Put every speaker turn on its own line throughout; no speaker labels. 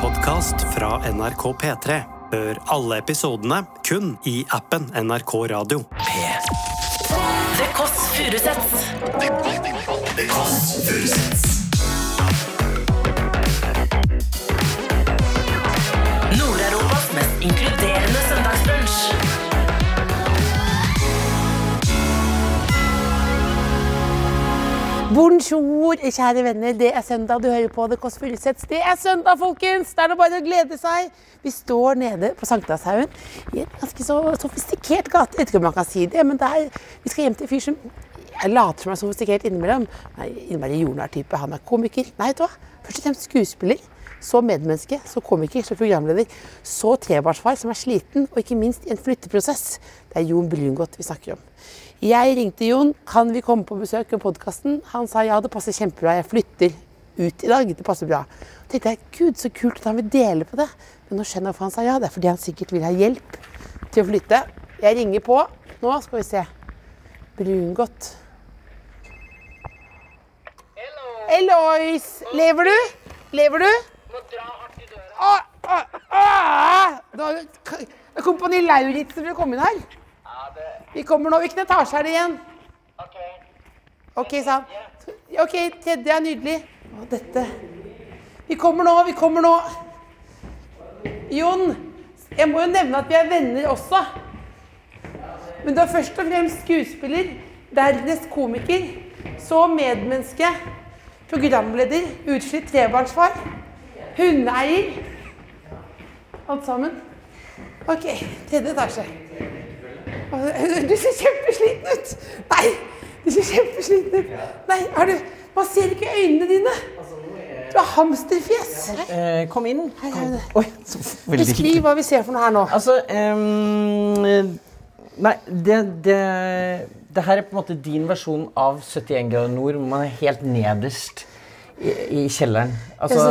podkast fra NRK P3. Hør alle episodene kun i appen NRK Radio.
The Kåss Furuseths. Nord-Europas mest inkluderende søndagsbrunsch.
Bonjour, kjære venner. Det er søndag. Du hører på The Kåss Furuseths. Det er søndag, folkens! Det er nå bare å glede seg. Vi står nede på Sankthanshaugen i en ganske så sofistikert gate. Jeg vet ikke om man kan si det, men det er, vi skal hjem til en fyr som jeg later som er sofistikert innimellom. Nei, innimellom jordnær type. Han er komiker. Nei, vet du hva? Først og fremst skuespiller. Så medmenneske, så komiker, så programleder, så trebarnsfar som er sliten, og ikke minst i en flytteprosess. Det er Jon Brungot vi snakker om. Jeg ringte Jon. Kan vi komme på besøk i podkasten? Han sa ja, det passer kjempebra. Jeg flytter ut i dag. Det passer bra. Da tenkte jeg gud, så kult at han vil dele på det. Men nå skjønner jeg hvorfor han sa ja. Det er fordi han sikkert vil ha hjelp til å flytte. Jeg ringer på. Nå skal vi se. Brungot. Elois! Lever du? Lever du? Åh, åh, åh! Da, K- kompani Lauritzen vil komme inn her. Vi kommer nå. Hvilken etasje er det igjen? OK, sa han. OK, tredje er nydelig. Å, dette Vi kommer nå, vi kommer nå. Jon, jeg må jo nevne at vi er venner også. Men du er først og fremst skuespiller, dernest komiker, så medmenneske, programleder, utslitt trebarnsfar, hundeeier. Alt sammen. OK, tredje etasje. Du ser kjempesliten ut! Nei, du ser kjempesliten ut. Nei, har du Man ser ikke øynene dine. Du har hamsterfjes.
Eh, kom inn.
Hei, hei, hei.
Oi, så veldig
Beskriv hva vi ser for noe her nå.
Altså ehm, Nei, det, det Det her er på en måte din versjon av 71 grader nord, hvor man er helt nederst i, i kjelleren. Altså,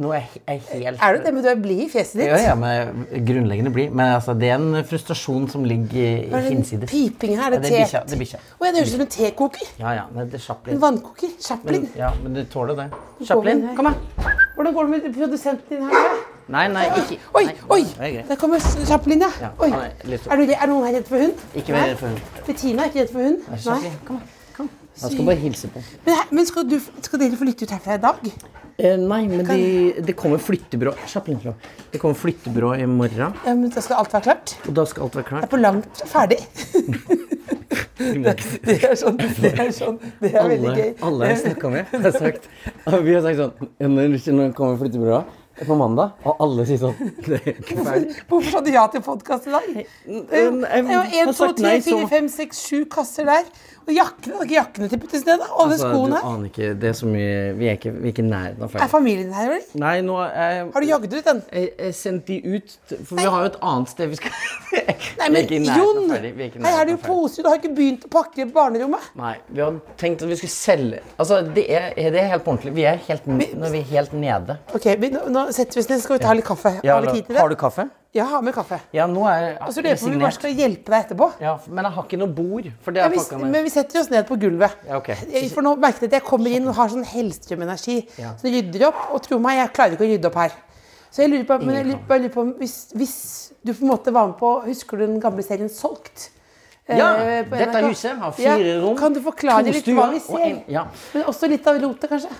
nå er jeg jeg er helt
Er du det, men du er blid i fjeset ditt?
Ja, ja, men grunnleggende blid. Men altså, det er en frustrasjon som ligger i
Hva er det
hinsides.
piping her? Er
Ja, det
det
er
te?
bikkja, det er bikkja.
Å, ja, det høres ut som en tekoker.
Ja, ja, men det er
En
Chaplin.
vannkoker.
Men,
Chaplin.
ja, men du tåler det.
Kommer
Chaplin,
inn her.
kom her.
Hvordan går det med produsenten din her? da?
Nei, nei, ikke
Oi,
nei,
oi!
det er greit.
Der kommer Chaplin, ja.
Ja,
Oi.
han er litt-
Er, du, er noen her redd for hund?
Ikke vær redd for henne.
Bettina er ikke redd for hund? Nei.
Chaplin, kom her. Kom. Jeg skal bare hilse på.
Men, her- men skal, du, skal dere få lytte ut herfra i dag?
Eh, nei, men de, det kommer flyttebyrå Chaplin, tror jeg. Det kommer flyttebyrå i morgen,
Ja, men Da skal alt være klart?
og da skal alt være
Det er
klart.
på langt fra ferdig. Det er sånn, det er, sånn, det er veldig
Alle,
gøy.
alle jeg snakka med, har sagt Vi har sagt sånn «Ja, Når, når kommer flyttebyrået på mandag? Og alle sier sånn Det er ikke ferdig.
Hvorfor sa du ja til podkast i dag? Det er jo- det er jo
Han
en,
har
to,
sagt
tre,
nei, så-
fire, fem, seks, sju kasser der. Og jakkene, har ikke jakkene til puttes ned. da? Alle
Altså,
skoene.
Du aner ikke. Det er så mye Vi er ikke, vi er ikke i nærheten av
Er
ferdig.
familien her, eller?
Nei, nå er
Har du jagd ut den?
jeg, jeg sendte de ut, for vi har jo et annet sted vi skal Vi er ikke
Nei,
vi
men
er ikke i nærheten
Jon!
av ferdig. Vi er ikke i
Her er det
nærheten
jo
av ferdig.
poser, du har ikke begynt å pakke barnerommet.
Nei, vi hadde tenkt at vi skulle selge Altså, det er, det er helt på ordentlig. Vi er helt, når vi er helt nede.
Ok, vi, nå, nå setter vi oss ned, så skal vi ta litt kaffe.
Ja,
Har vi tid til det?
har du kaffe?
Ja, har med kaffe.
Ja, nå er jeg
Og så lurer jeg på om vi bare skal hjelpe deg etterpå.
Ja, men jeg har ikke noe bord. For det
Ja,
er
vi,
pakka ned.
men vi setter oss ned på gulvet.
Ja, ok.
Jeg- For nå merket jeg at jeg kommer inn og har sånn Hellstrøm-energi.
Ja.
Så jeg rydder opp, og tro meg, jeg klarer ikke å rydde opp her. Så jeg lurer på, men jeg lurer, bare lurer på om hvis, hvis du på en måte var med på Husker du den gamle serien Solgt?
Ja,
Eh, på
dette
NRK?
huset har fire rom,
Kan du
to
forklare litt hva
stuer og
vi ser?
en- ja.
Men også litt av rotet, kanskje?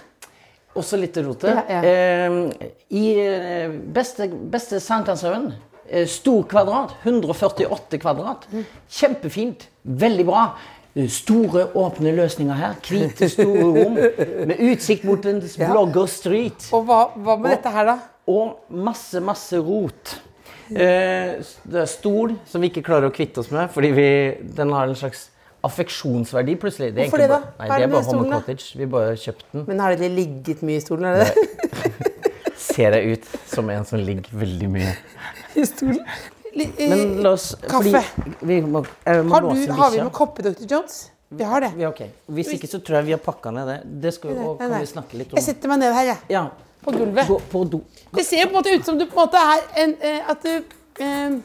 Også litt rote.
Ja, ja.
Eh, I eh, beste, beste Sankthanshaugen eh, Stor kvadrat. 148 kvadrat.
Mm.
Kjempefint. Veldig bra. Eh, Store, åpne løsninger her. Hvite, store rom. Med utsikt mot en blogger street.
Og hva, hva med dette her, da?
og masse, masse rot. Eh, s- det er stol som vi ikke klarer å kvitte oss med, fordi vi, den har en slags affeksjonsverdi plutselig. er egentlig
Hvorfor det da?
bare- Nei,
Hva er
det er
det med
bare Homme
stolen da?
Cottage. Vi bare kjøpte den.
Men har dere ligget mye i stolen? Er det det?
Ser jeg ut som en som ligger veldig mye
I stolen? Li- i-
Men la oss
Kaffe.
fordi Vi må, jeg må
har,
låse
du, har vi
bikkja.
med kopper, Dr. Jones? Vi har det.
Ja, ok. Hvis ikke så tror jeg vi har pakka ned det. Det skal, og,
Nei,
kan
nei.
vi snakke litt om.
Jeg setter meg ned her, jeg.
Ja.
På gulvet.
Gå på do.
Det ser jo på en måte ut som du på en måte er en eh, At du eh,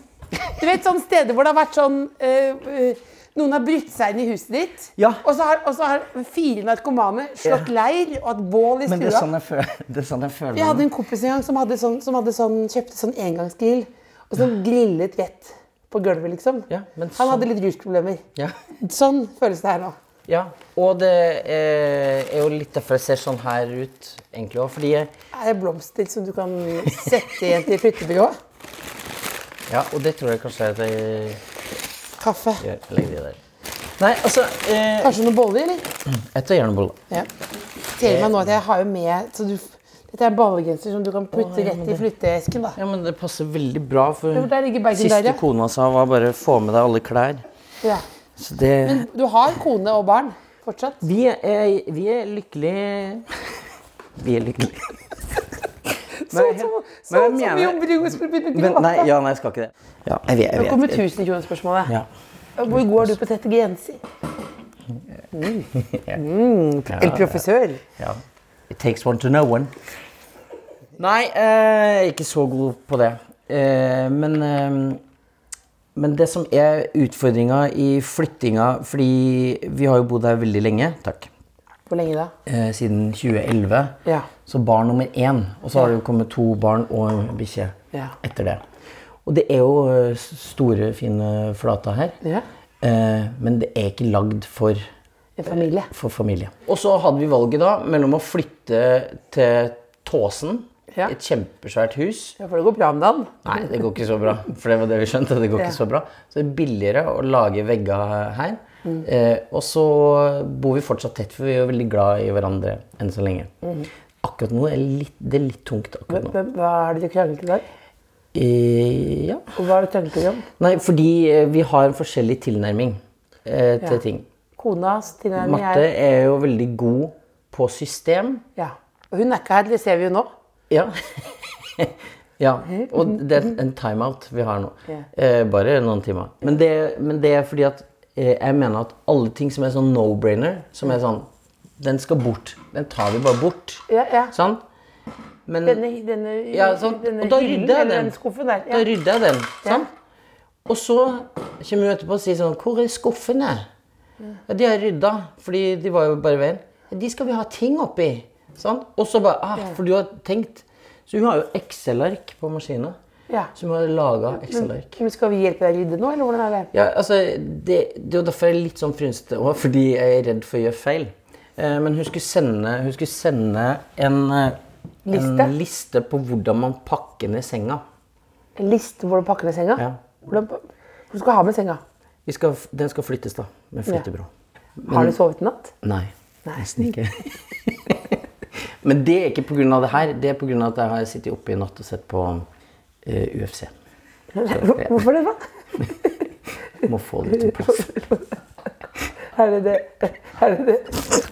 Du vet sånne steder hvor det har vært sånn eh, eh, Noen har brutt seg inn i huset ditt,
Ja.
og, så har, og så har fire narkomane slått leir og hatt bål i
Men det er
stua.
sånn jeg føler, det er sånn jeg føler
Jeg hadde
meg.
en kompis en gang som, hadde sånn, som hadde sånn, kjøpte sånn engangsgrill og sånn grillet rett på gulvet, liksom.
Ja, men
Han
sånn-
hadde litt rusproblemer.
Ja.
Sånn føles det her nå.
ja. Og det eh, er jo litt derfor jeg ser sånn her ut, egentlig òg. Fordi jeg
Er det blomster som du kan sette igjen til flyttebyrået?
Ja, og det tror jeg kanskje at jeg
Kaffe.
gjør. Legg det der. Nei, altså eh,
Kanskje noen boller, eller?
Jeg tar gjerne boller.
Ja. Ser meg nå at jeg har jo med så du, Dette er ballegenser som du kan putte
Å, ja, men
rett i
det-
flytteesken, da.
Ja, men det passer veldig bra, for
Jo, der ligger bagen
siste
der, ja.
kona sa var bare 'få med deg alle klær'.
Ja.
Så det
Du har kone og barn fortsatt?
vi, er, vi er lykkelige Vi er lykkelige.
Sånn som, sånn som vi om
mener-
Brugo skulle begynne å
men,
gråte.
nei, ja, nei, jeg skal ikke det. Ja, jeg vet, jeg
Nå
vet.
kommer 1000 kroner-spørsmålet.
Ja.
Hvor går du på tette grenser? Mm. Mm. El professør.
ja. It takes one to know one. Nei, eh, ikke så god på det. Eh, men eh, Men det som er utfordringa i flyttinga Fordi vi har jo bodd her veldig lenge. Takk.
Hvor lenge da?
eh, siden 2011.
Ja.
Så barn nummer én. Og så har det jo kommet to barn og en bikkje
Ja.
etter det. Og det er jo eh, s- store, fine flater her.
Ja.
Eh, men det er ikke lagd for,
En familie.
for familie. Og så hadde vi valget da mellom å flytte til Tåsen.
Ja.
Et kjempesvært hus.
Ja, for det går bra om dagen.
Nei, det går ikke så bra. For det var det vi skjønte. Det går
Ja.
ikke så bra. Så det er billigere å lage vegger her.
Mm.
Eh, og så bor vi fortsatt tett, for vi er jo veldig glad i hverandre enn så lenge.
Mm.
Akkurat nå er det litt, det er litt tungt. akkurat nå.
Hvem- Hva er det du krangler til i dag?
Eh, ja.
Og hva er det du krangler til om?
Nei, fordi eh, vi har en forskjellig tilnærming eh, til
Ja.
ting.
Konas tilnærming
Marte
er
er jo veldig god på system.
ja. Og Hun er ikke her, det ser vi jo nå.
Ja. ja. Og det er en timeout vi har nå.
Ja.
Eh, bare noen timer. Men det, men det er fordi at eh, jeg mener at alle ting som er sånn no-brainer, som er sånn Den skal bort. Den tar vi bare bort.
Ja, ja.
Sant? Men
Denne, denne,
Ja, sant.
denne
Og da
hyllen,
rydder jeg
eller
den.
den skuffen der.
da
Ja.
rydder jeg sånn. den. Sant? Og så kommer hun etterpå og sier sånn Hvor er skuffene? Ja, de har rydda, fordi de var jo bare i veien. «Ja, De skal vi ha ting oppi. Sant? Og så bare ah, For du har tenkt. Så hun har jo Excel-ark på maskina.
Ja.
Som har laga Excel-ark.
Men skal vi hjelpe deg å rydde nå, eller hvordan er det?
Ja, altså, det, det er jo derfor jeg er litt sånn frynsete òg, fordi jeg er redd for å gjøre feil. Eh, men hun skulle sende, hun skulle sende en, eh,
Liste?
en liste på hvordan man pakker ned senga.
En liste hvor du pakker ned senga?
Ja.
Hvordan, hvor du skal ha med senga?
Vi skal, den skal flyttes, da. Med flyttebyrå.
Har du sovet i natt?
Nei. Nesten ikke. men det er ikke pga. det her. Det er pga. at jeg har sittet oppe i natt og sett på eh, UFC.
Hvor- Hvorfor det, da?
Må få det til plass.
Er det det? Er det det?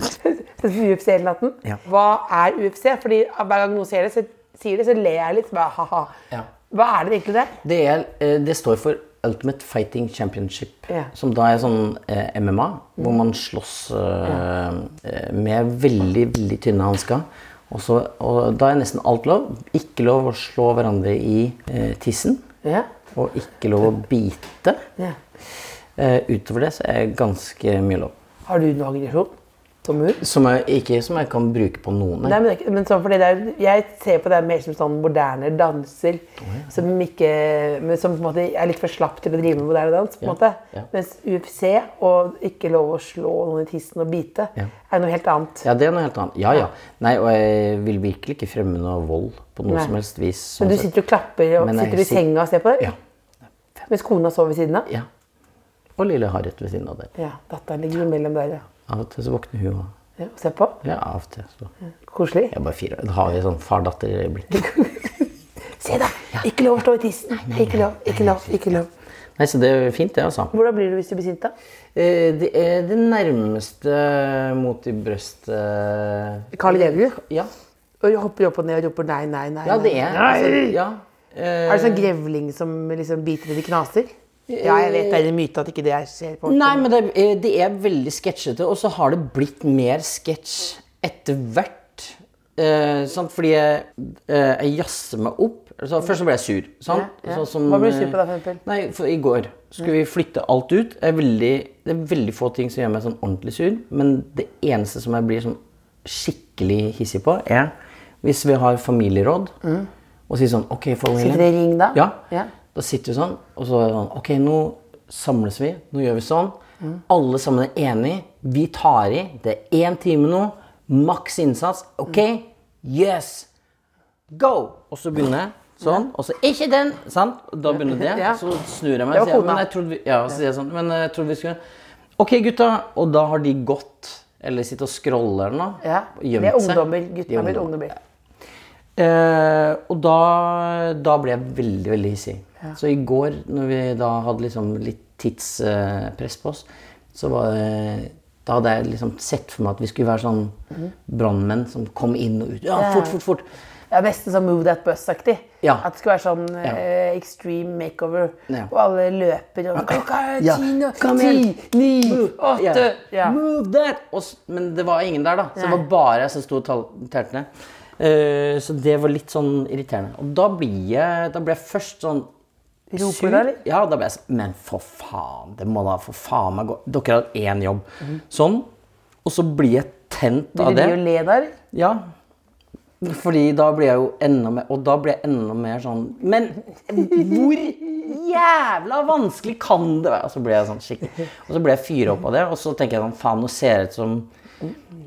Sett på UFC hele natten?
Ja.
Hva er UFC? Fordi Hver gang noen sier det, så, sier det, så ler jeg litt. så Bare, haha.
Ja.
Hva er det egentlig der?
Det, er, eh, det står for Ultimate Fighting Championship,
Ja.
som da er sånn eh, MMA, hvor man slåss eh, eh, med veldig, veldig tynne hansker. Og, så, og da er nesten alt lov. Ikke lov å slå hverandre i eh, tissen.
Ja.
Og ikke lov å bite.
Ja.
Eh, utover det så er ganske mye lov.
Har du noe aggresjon? Som hun?
Som jeg, ikke som jeg kan bruke på noen.
Nei,
her.
men, det er ikke- men sånn, fordi det er, jeg ser på det mer som sånn moderne danser som, ikke, men som på en måte er litt for slapp til å drive med moderne dans. på en
Ja,
måte.
ja.
Mens UFC og ikke lov å slå noen i tissen og bite
Ja.
er noe helt annet.
Ja, det er noe helt annet. Ja, ja. Nei, og jeg vil virkelig ikke fremme noe vold på noe
Nei.
som helst vis.
Men
sånn
du
sett.
sitter og klapper og
Men jeg
sitter du i
sit-
senga og ser på det?
Ja.
Mens kona sover ved siden av?
Ja. Og lille Harriet ved siden av der.
Ja, datteren ligger imellom der, ja.
Av og til så våkner hun og
ja og ser på.
Eller av og til. Så.
Koselig.
Jeg er bare fire. Da har vi sånn far-datter-blikk.
Se da! Ikke lov å slå i tissen. Ikke lov, ikke lov, ikke lov.
Nei, så det er fint, det, altså.
Hvordan blir du hvis du blir sint, da?
Eh, Det er det nærmeste mot i brøstet
Carl Grevlug.
Ja.
Og hopper opp og ned og roper nei, nei, nei.
ja, det er altså, ja. Eh,
Er det sånn grevling som liksom biter i de knaser? Ja, jeg vet det er en myte at ikke det er- skjer. på
Nei, men det, eh, det er veldig sketsjete, og så har det blitt mer sketsj etter hvert. Eh, sant? Fordi jeg, eh, jeg jazzer meg opp. Så først så ble jeg sur. Sant?
Ja, ja.
Sånn som,
Hva ble du sur på da,
eh,
for eksempel?
Nei, for I går skulle vi flytte alt ut. Jeg er veldig, det er veldig få ting som gjør meg sånn ordentlig sur. Men det eneste som jeg blir sånn skikkelig hissig på, er hvis vi har familieråd og sier sånn OK, familien.
Mm. Sitter det i ring da?
Ja.
Ja.
Da sitter vi sånn, og så er det sånn OK, nå samles vi. Nå gjør vi sånn.
Mm.
Alle sammen er enige. Vi tar i. Det er én time nå. Maks innsats. OK?
Mm.
Yes! Go! Og så begynner jeg. Sånn. Og så ikke den! Sant? Og Da begynner det.
Ja.
Så snur jeg meg
Det var
og sier,
kona.
men jeg trodde vi, ja, og så sier jeg sånn, men jeg trodde vi skulle OK, gutta. Og da har de gått. Eller sitter og scroller eller noe.
Ja.
og
Det
gjemt
er
seg.
ungdommer.
De
Guttene
er
har blitt ungdommer.
Eh, og da, da ble jeg veldig, veldig hissig. Så i går, når vi da hadde liksom litt tidspress på oss, så var det da hadde jeg liksom sett for meg at vi skulle være sånn brannmenn som kom inn og ut. Ja,
Mhm. Ja.
fort, fort, fort.
Ja, Nesten sånn Move That Bus-aktig.
Ja.
At det skulle være sånn eh, extreme makeover,
Ja.
og alle løper og Klokka er
Ja.
ti, nå-
Kom
ti,
igjen.
ni,
Ja.
åtte ja.
Move that! Og, s- men det var ingen der, da. Så det
Nei.
var bare jeg som sto og tal- telte ned. Eh, så det var litt sånn irriterende. Og da blir jeg, da blir jeg først sånn
Roper
sur.
du, eller?
Ja, da ble jeg sånn Men for faen, det må da for faen meg gå Dere har hatt én jobb. Sånn. Og så blir jeg tent av
Mhm. Blir
det.
de og le der?
Ja. Fordi da blir jeg jo enda mer Og da blir jeg enda mer sånn Men hvor jævla vanskelig kan det være? Og så blir jeg sånn skikkelig Og så blir jeg fyra opp av det, og så tenker jeg sånn Faen, nå ser jeg ut som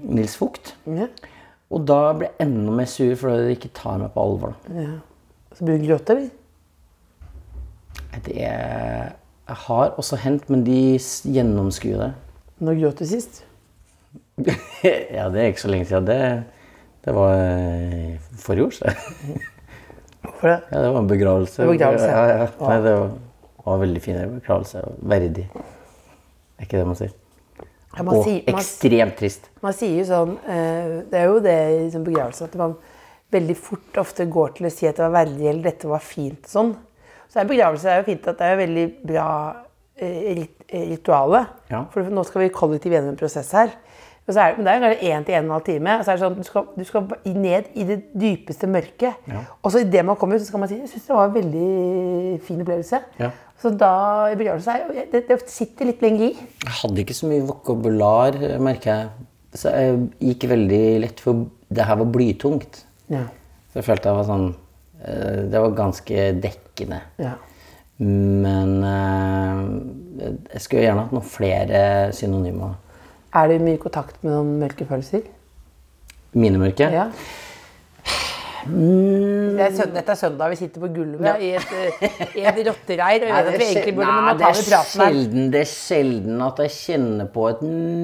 Nils Vogt. Og da blir jeg enda mer sur fordi de ikke tar meg på alvor. da.
Så blir du gråte, eller?
Det er, jeg har også hendt, men de s- gjennomskuer det.
Når gråt du sist?
ja, det er ikke så lenge siden. Det, det var eh, forrige år, så.
Hvorfor det?
Ja, det var en begravelse.
En begravelse.
Ja, ja. Nei, det var, var en veldig fin begravelse. og Verdig. Er ikke det man sier?
Ja, man,
og
sier, man,
ekstremt trist.
man sier jo sånn eh, Det er jo det i sånn begravelse at man veldig fort ofte går til å si at det var verdig, eller dette var fint, sånn. Så en begravelse er jo fint at det er jo veldig bra eh, rit eh, rituale.
Ja.
For nå skal vi kollektivt gjennom en prosess her. Og så er, det- men det er jo kanskje én til en og en halv time. Og så er det sånn, du skal, du skal i- ned i det dypeste mørket.
Ja.
Og så idet man kommer ut, så skal man si jeg syns det var en veldig fin opplevelse.
Ja.
Så da i begravelse er jo det, det sitter litt lenger i.
Jeg hadde ikke så mye vokabular, merker jeg. Så jeg gikk veldig lett for Det her var blytungt.
Ja.
Så jeg følte jeg var sånn eh, Det var ganske dekkende.
Ja.
Men eh, jeg skulle gjerne hatt noen flere synonymer.
Er du mye i kontakt med noen mørke følelser?
Minemørke.
Ja.
Mm.
Det er søndag, dette er søndag, vi sitter på gulvet i et, eh, i et rottereir. Og jeg vet at vi
skje-
egentlig burde, men
Nei,
man
det
tar
er
med praten her.
sjelden, det er sjelden at jeg kjenner på et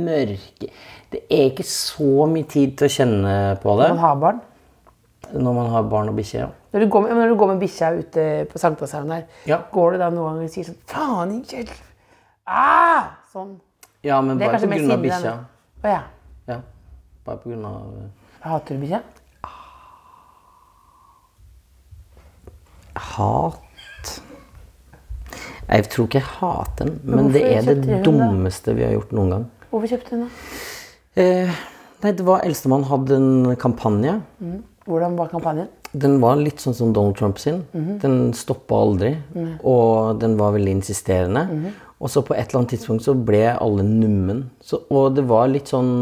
mørke Det er ikke så mye tid til å kjenne på det
Man har barn.
når man har barn og bikkje. ja.
Når du går med, når du går med bikkja ute på Sankthanshaugen her,
Ja.
går du da noen ganger og sier sånn Faen i hjelp! Ah! Sånn.
Ja, men
Det er
bare på
kanskje mer
grunn
sinne
av bikkja.
enn- Å ja.
Ja, bare på grunn av eh,
Hater du bikkja?
Hat Jeg tror ikke jeg hater den, men det
hvorfor
er det
kjøpte du den da?
dummeste vi har gjort noen gang.
Hvorfor kjøpte du den? da?
Eh, nei, det var Eldstemann hadde en kampanje.
Hvordan var kampanjen?
Den var litt sånn som Donald Trump sin.
Mhm.
Den stoppa aldri, og den var veldig insisterende.
Mhm.
Og så på et eller annet tidspunkt så ble alle nummen. Så, og det var litt sånn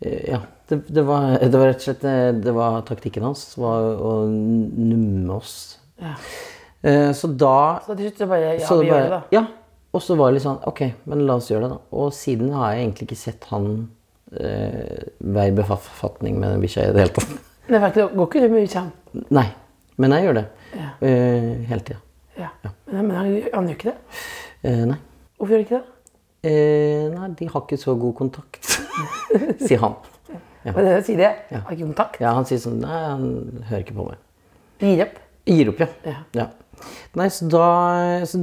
eh, Ja. Det, det, var, det var rett og slett eh, det, det var taktikken hans. var å numme oss. Eh, så da
Så til slutt så bare Ja,
så
vi
det
gjør det,
bare,
da.
ja. Og så var det litt sånn OK, men la oss gjøre det, da. Og siden har jeg egentlig ikke sett han eh, være i befatning med den bikkja i det hele tatt.
Men faktisk, går ikke du med bikkja?
Nei, men jeg gjør det.
Ja.
Eh, hele tida.
Ja. Men, men han, han gjør ikke det.
Eh, nei.
Hvorfor gjør han ikke det?
Eh, nei, de har ikke så god kontakt, sier han.
Men det sier det. Har ikke kontakt.
Ja, Han sier sånn Nei, han hører ikke på meg.
Gir opp.
Gir opp, ja. ja. Nei, så da så,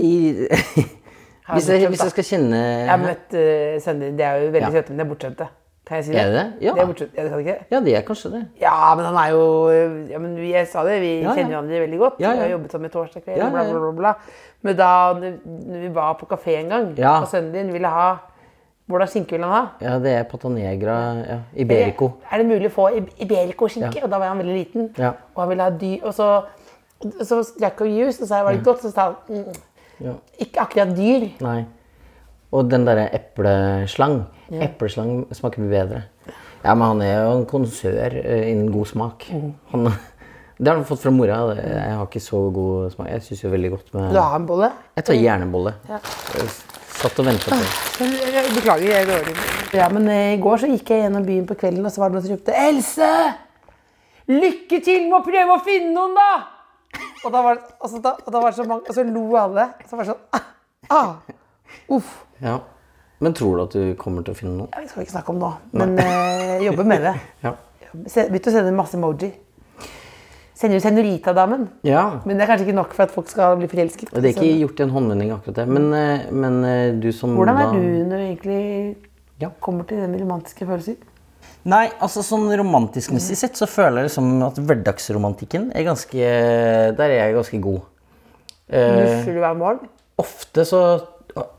i, hvis, jeg, hvis jeg skal kjenne
Jeg har møtt uh, sønnen din. De er jo veldig
Ja.
søte, men de er bortskjemte. Kan jeg si det?
Er det det? Ja.
De er bortskjemte. Ja, det kan jeg ikke.
Ja, det er kanskje det.
Ja, men han er jo ja, men vi- Jeg sa det, vi
ja.
kjenner hverandre veldig godt.
Ja, ja.
Vi har jobbet sammen i torsdag kveld,
Ja, ja,
bla,
ja.
bla, bla, bla. Men da når vi var på kafé en gang,
Ja.
og sønnen din ville ha Hvordan skinke vil han ha?
Ja, det er patanegra. Ja. Iberico.
Er det mulig å få ib- Iberico-skinke?
Ja.
Og da var han veldig liten.
Ja.
Og han ville ha dy... Og så, og så drakk han juice, og så sa jeg var det godt, så sa han mm,
Ja.
ikke akkurat dyr.
Nei. Og den derre epleslang. Epleslang smaker mye bedre. Ja, men han er jo en konsør eh, innen god smak.
Mm.
Han, det har han fått fra mora. det- Jeg har ikke så god smak. Jeg syns jo veldig godt med
Du har en bolle?
Jeg tar hjernebolle. Jeg Satt og venta på det. eh,
Beklager, jeg er dårlig. Ja, men eh, i går så gikk jeg gjennom byen på kvelden, og så var det noen som ropte Else! Lykke til med å prøve å finne noen, da! Og da var det, og så, da, og da var det så mange, og så lo alle. Og så var det sånn ah, ah, Uff.
Ja. Men tror du at du kommer til å finne noe?
Det skal vi ikke snakke om nå, men eh, jobber med det.
Ja.
Se- Begynte å sende masse emoji. Sender du Senorita-damen?
ja.
Men det er kanskje ikke nok for at folk skal bli forelsket.
Det er
Så-
ikke gjort i en håndvending, akkurat det. Men, eh, men eh, du som
Hvordan er
da-
du når du egentlig
Ja.
kommer til den romantiske følelsen?
Nei, altså sånn romantisk-messig sett så føler jeg liksom at hverdagsromantikken er ganske Der er jeg ganske god. Eh,
Dusjer du hver morgen?
ofte så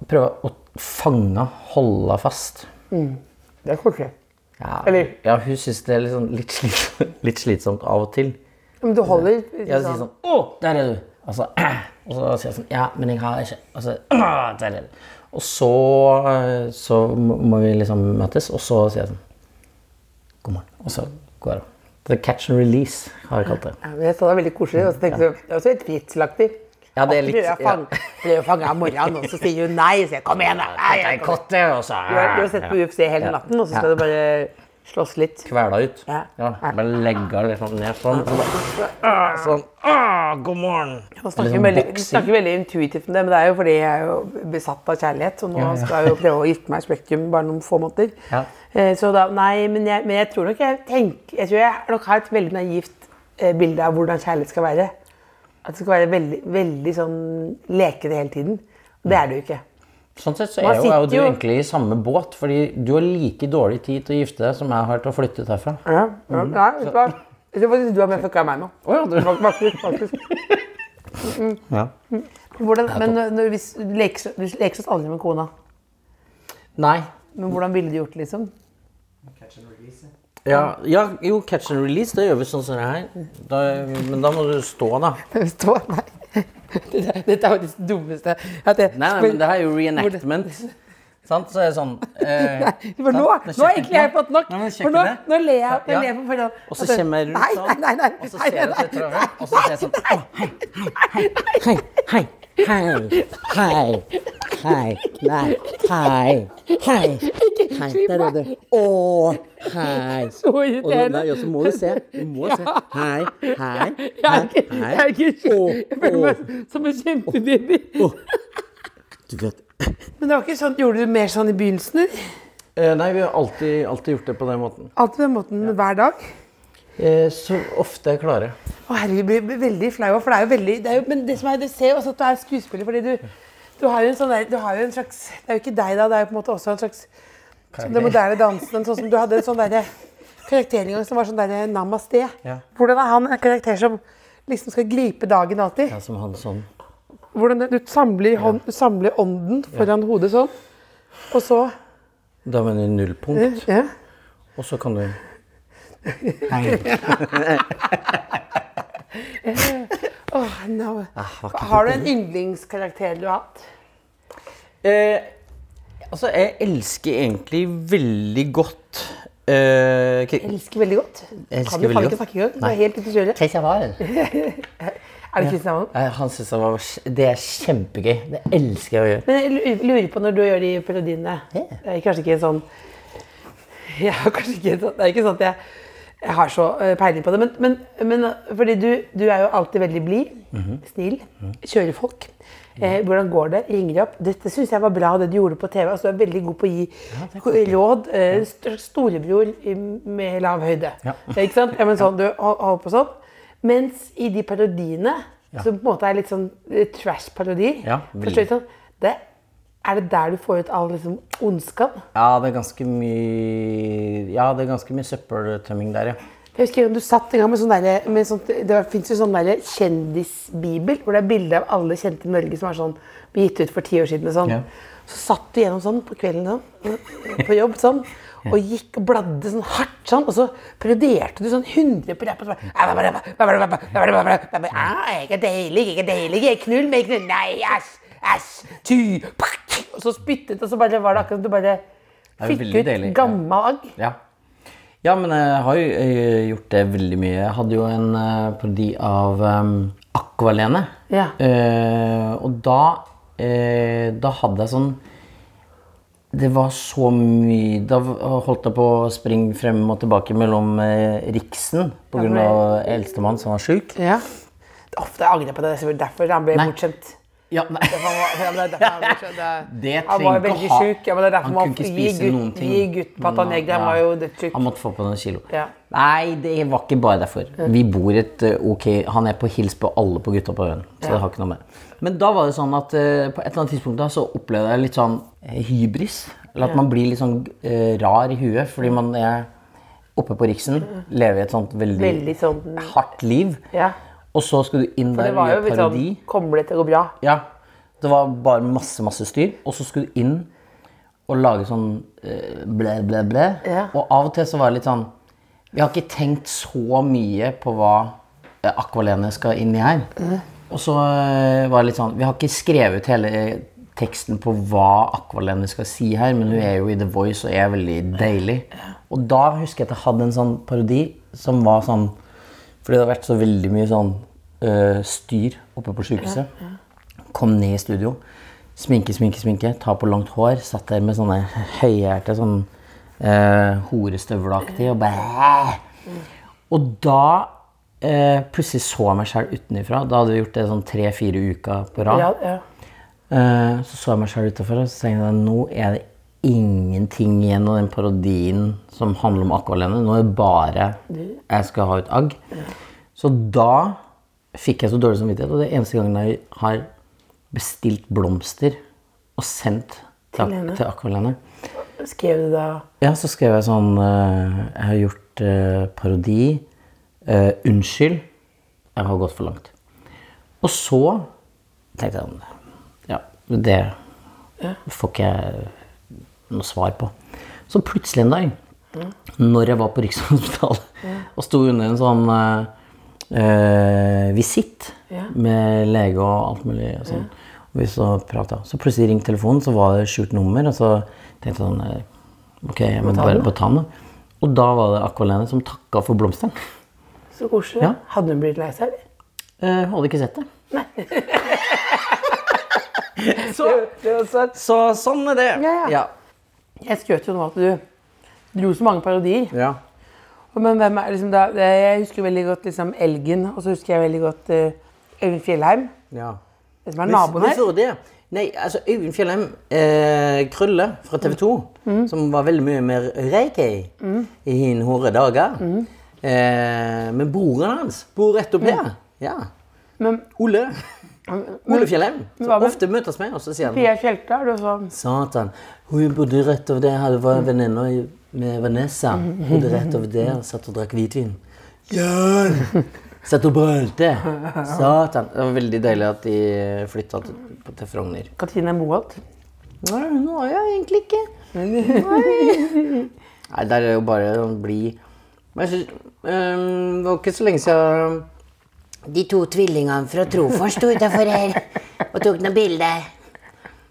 prøver jeg å fange, holde fast.
Det er koselig.
Ja,
Eller-
ja hun syns det er litt, sånn, litt, slitsomt, litt slitsomt av og til.
Men du holder
Jeg sier
Liksom.
sånn Å, der er du! Altså, og så sier jeg sånn Ja, men jeg har ikke altså, «Åh, Der er du! Og så, eh, så må må vi liksom møtes, og så sier jeg sånn God morgen. Og så går jeg. The catch and release har jeg kalt det.
Ja, men jeg så det var veldig koselig, og så tenkte jeg, det er også litt fritselaktig.
Ja, det er litt-
Prøver jeg å fange- prøver å fange av morgenen, og så sier hun nei, så jeg kom igjen da. Nei, jeg kommer.
og så
Du har, du har sett på UFC hele
Ja.
natten, og så skal
Ja.
du bare slåss litt.
Kvela ut.
Ja.
Bare legge den liksom ned sånn. Så bare, «Åh», sånn. «Åh, God morgen!
Man snakker,
Liksom
veldig, du
boksing.
snakker veldig intuitivt om det, men det er jo fordi jeg er jo besatt av kjærlighet. Og nå
Ja, ja.
skal jeg jo prøve å gifte meg i Spektrum bare noen få måneder.
Ja.
Eh, Så da, nei, men jeg, men jeg tror nok jeg tenker Jeg tror jeg nok har et veldig naivt eh, bilde av hvordan kjærlighet skal være. At det skal være veldig, veldig sånn lekete hele tiden. Og det er det jo ikke.
Sånn sett så
Man
er jo, er jo
sitter
du
jo-
egentlig i samme båt, fordi du har like dårlig tid til å gifte deg som jeg har til å flytte ut herfra.
Ja, ja, Nei, vet du hva? Jeg tror faktisk du har mer fucka enn meg nå.
Mm. Å ja, du-
Faktisk, faktisk.
Ja.
Hvordan, men når, hvis, du leker, så- du leker oss aldri med kona.
Nei.
Men hvordan ville du gjort det, liksom?
Ja, ja, jo, catch and release, det gjør vi sånn som det her. Da, men da må du stå, da.
Det står Nei. Dette, dette er jo det dummeste. At jeg,
Nei, nei, men det her er jo reenactment. Sant? Så er det sånn eh,
for nå,
sant?
nå har egentlig jeg fått nok.
Nei, men sjekk
for nå,
det.
nå ler jeg.
Ja.
jeg ler på forhånd.
Og så kommer jeg rundt sånn.
Nei, nei, nei.
og så ser jeg at jeg tror jeg- og så sier jeg sånn Å, hei, hei, hei, hei, hei, hei, nei, hei, hei, hei, der er du. Å, hei.
Så
Og da- da-
irriterende.
ja, så må du se, du må se. Hei, hei,
Jeg er ikke,
hei,
jeg er ikke
Å,
Jeg føler meg
å,
som en kjempebaby.
å. Du vet.
Men det var ikke sånn, gjorde du mer sånn i begynnelsen?
Eh, Nei, vi har alltid, alltid gjort det på den måten.
Alt på den måten hver dag?
Eh, Så ofte jeg klarer.
Å herregud, jeg blir- blir veldig flau. For det er jo veldig det er jo, Men det som er, du ser jo også at du er skuespiller, fordi du, du har jo en sånn der, du har jo en slags Det er jo ikke deg, da. Det er jo på en måte også en slags som Den moderne dansen. en Sånn som du hadde en sånn derre karakter en gang som var sånn derre namaste.
Ja.
Hvordan er han en karakter som liksom skal gripe dagen alltid?
Ja, som han sånn.
Hvordan det- Du samler, hånd, du samler ånden foran hodet sånn, og så
Da mener du nullpunkt.
ja.
Og så kan du Hei.
Åh, no.
var ikke
Har du en yndlingskarakter du har hatt?
Eh, altså, jeg elsker egentlig veldig godt eh,
Jeg
Kri-
Elsker veldig godt.
elsker
kan du
veldig
faen
godt.
ikke snakke engang? Du
Nei.
er helt ute å kjøre. Er det Kristian?
Eh, Han syns det var Det er kjempegøy. Det elsker jeg å gjøre.
Men jeg lu- lurer på når du gjør de parodiene
Ja.
Det er kanskje ikke en sånn Jeg har kanskje ikke en sånn Det er ikke sånn at jeg, jeg har så eh, peiling på det. Men, men, men eh, fordi du, du er jo alltid veldig blid,
Mhm.
snill, kjører folk. Eh, hvordan går det? Ringer opp. Dette syns jeg var bra, det du gjorde på TV. Altså, du er veldig god på å gi råd. Eh, st- storebror i- med lav høyde.
Ja.
Ikke sant? Ja, men sånn, du hol- holder på sånn. Mens i de parodiene, som på en måte er litt sånn eh, trash-parodier
Ja,
Forstår
veldig.
du sånn, det, er det der du får ut all liksom, ondskap?
Ja, det er ganske mye Ja, det er ganske mye søppeltømming der, ja.
Jeg husker du satt en gang med sånn der, med sånt, Det fins jo sånn der kjendisbibel, hvor det er bilde av alle kjente i Norge som er sånn, ble gitt ut for ti år siden. og Sånn.
Ja.
Så satt du gjennom sånn på kvelden sånn, på jobb sånn, og gikk og bladde sånn hardt sånn, og så parodierte du sånn 100 på rappen. Sånn, ikke deilig, ikke deilig, ikke knull meg, knull, nei, æsj, æsj, tu, pakk. Og så spyttet, og så bare var det akkurat som du bare
er jo
fikk
veldig
ut
deilig, ja.
gammel agg.
Ja. ja, men jeg har jo eh, gjort det veldig mye. Jeg hadde jo en eh, parodi av um, Aqualene.
Ja.
Eh, og da, eh, da hadde jeg sånn Det var så mye Da v- holdt jeg på å springe frem og tilbake mellom eh, Riksen
Ja,
pga.
for-
eldstemann som var sjuk.
Ja. Ofte angrer jeg på det, det er sikkert derfor han ble
Nei.
bortskjemt.
Ja, nei.
Han var- ja, men det er derfor han ble bortskjemt.
Det
Han var
trenger ikke
veldig
ha-
sjuk. Ja, men det er derfor
han
man
kunne ikke
gi
spise
gutt-
noen ting.
gi gutt Pata
Men,
Negra, han var jo dødssjuk.
Han måtte få på noen kilo.
Ja.
Nei, det var ikke bare derfor. Vi bor et eh, ok Han er på hils på alle på gutta på øyen. Så det har ikke noe med. Men da var det sånn at eh, på et eller annet tidspunkt da så opplevde jeg litt sånn eh, hybris. Eller at man blir litt sånn eh, rar i huet fordi man er oppe på Riksen. Lever et sånt veldig,
Veldig sånn-
hardt liv.
Ja.
Og så skal du inn
Det
der og
var jo
gjøre
litt sånn
parodi.
Kommer det til å gå bra?
Ja. Det var bare masse, masse styr. Og så skulle du inn og lage sånn eh, blæ, blæ, blæ.
Ja.
Og av og til så var det litt sånn Vi har ikke tenkt så mye på hva eh, Aqualene skal inn i her. Og så eh, var det litt sånn Vi har ikke skrevet hele eh, teksten på hva Aqualene skal si her, men hun er jo i The Voice og er veldig deilig. Og da husker jeg at jeg hadde en sånn parodi som var sånn fordi det har vært så veldig mye sånn øh, styr oppe på sykehuset. Kom ned i studio. Sminke, sminke, sminke. Ta på langt hår. Satt der med sånne høyhælte, sånn øh, horestøvelaktig og bare Og da øh, plutselig så jeg meg sjøl utenfra. Da hadde vi gjort det sånn tre-fire uker på rad.
Ja, ja.
Eh, Så så jeg meg sjøl utafor og så tenkte jeg, nå er det ingenting igjen av den parodien som handler om Aqualene. Nå er det bare jeg skal ha ut agg. Så da fikk jeg så dårlig samvittighet. Og det er eneste gangen jeg har bestilt blomster og sendt til,
Til henne.
til Aqualene.
Skrev du da
Ja, så skrev jeg sånn eh, Jeg har gjort eh, parodi. Eh, unnskyld. Jeg har gått for langt. Og så tenkte jeg sånn Ja, det får ikke jeg noe svar på. Så plutselig en dag, når jeg var på Rikshospitalet og sto under en sånn eh, eh, visitt
Ja.
med lege og alt mulig og sånn, og vi så prata, så plutselig ringte telefonen, så var det skjult nummer, og så tenkte jeg sånn eh, Ok, jeg må bare på tann, da. Og da var det Aqualene som takka for blomsteren.
Så koselig.
Ja.
Hadde hun blitt lei seg, eller?
Eh, hadde ikke sett det.
Så, det var søtt.
Så sånn er det.
Ja, ja. Jeg skrøt jo nå at du dro så mange parodier.
Ja.
Men hvem er liksom da Jeg husker jo veldig godt liksom Elgen, og så husker jeg veldig godt eh, Øyvind Fjellheim,
ja.
det som er naboen
Men
her.
før det, nei, altså Øyvind Fjellheim, eh, Krølle fra TV 2,
Mm.
som var veldig mye mer reiki i hine hårde dager.
Mm.
Eh, men broren hans bor rett opp her. Ja.
Men
Ole. Ole Fjellheim.
hva
Som
med-
ofte møtes med, og så sier han
Pia Tjelta er sånn- det også
Satan. Hun bodde rett over der. Hadde vært venninne med Vanessa. Bodde rett over der og satt og drakk hvitvin. Jørn! Satt og brølte. Satan. Det var veldig deilig at de flytta til, til Frogner.
Katrine Moholt.
Nei, nå er jeg egentlig ikke. Nei, der er det jo bare å bli Men jeg synes, øhm, Det var ikke så lenge siden
De to tvillingene fra Trofors sto utafor her og tok noen bilder.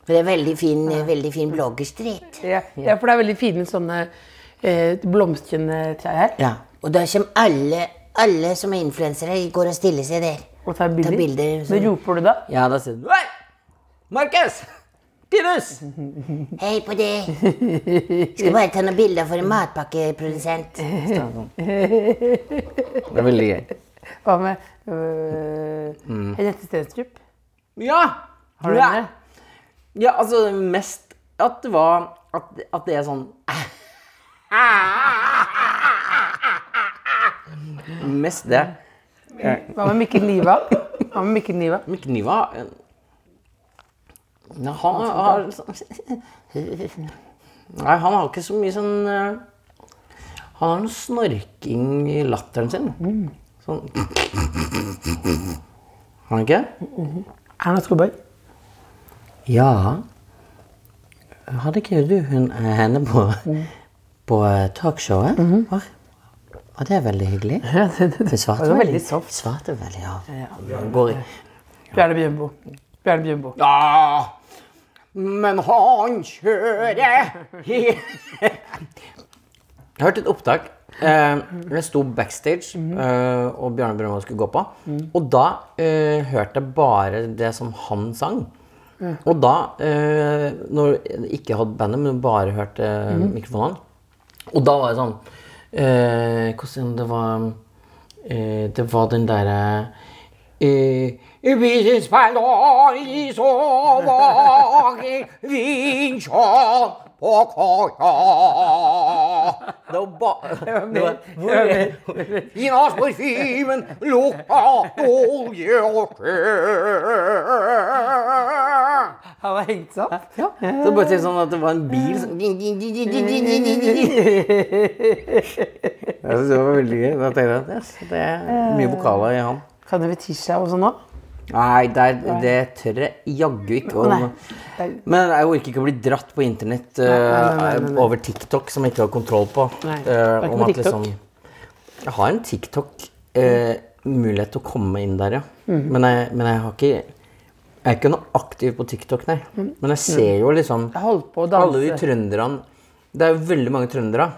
For det er veldig fin, veldig fin bloggerstreet.
Ja, ja, for det er veldig fine sånne eh, blomstrende trær her.
Ja. Og da kommer alle, alle som er influensere, går og stiller seg der.
Og tar bilder.
bilder,
Men roper du da?
Ja, da sier du Hei! Markus! Tinus!
Hei på deg! Skal bare ta noen bilder for en matpakkeprodusent.
Det er veldig gøy.
Hva med øh, Henriette Stenstrup?
Ja!
Har du eh?
ja.
henne?
Ja, altså mest at det var At, at det er sånn Mest det.
Hva med Mikkel Niva? Hva med Mikkel Niva?
Mikkel Niva eh, Nei, han har liksom Nei, han har ikke så mye sånn eh, Han har noe snorking i latteren sin. Sånn Har han ikke?
Erna Solberg.
Ja. Hadde ikke du hun, eh, henne på,
Mm.
på eh, talkshowet? Var- Var det veldig hyggelig? Hun svarte
Mhm. Det var veldig
veldig
soft.
Svarte veldig, ja. Hun Går i.
Bjarne Bjørnbo. Bjarne Bjørnbo.
Ja, men han kjører he- Jeg hørte et opptak. Eh, jeg sto backstage, eh, og Bjarne Brøndbo skulle gå på. Og da eh, hørte jeg bare det som han sang. Og da, eh, når jeg ikke hadde bandet, men bare hørte mikrofonene Og da var det sånn eh, Hvordan det var eh, Det var den derre eh, «Hvis det spiller i sover, vinsjer på kaia». Det var bare det var- Inas parfymen lukta olje og sjø.
Han var hengt seg opp.
Ja. Så bare til sånn at det var en bil som Jeg synes det var veldig gøy. Da tenkte jeg at yes, det er mye vokaler i han.
Kan det være Tisha og sånn nå?
Nei, det, er, det tør jeg jaggu ikke. å-
Nei.
Men jeg orker ikke å bli dratt på internett eh, over TikTok som jeg ikke har kontroll på.
Nei,
Eh,
du har ikke
om
noe
at
TikTok?
liksom- jeg har en TikTok-mulighet til å komme inn der, ja.
Mhm.
Men, jeg, men jeg har ikke jeg er ikke noe aktiv på TikTok, nei. Men jeg ser jo liksom
Mhm. Jeg holdt på å danse.
alle de trønderne Det er jo veldig mange trøndere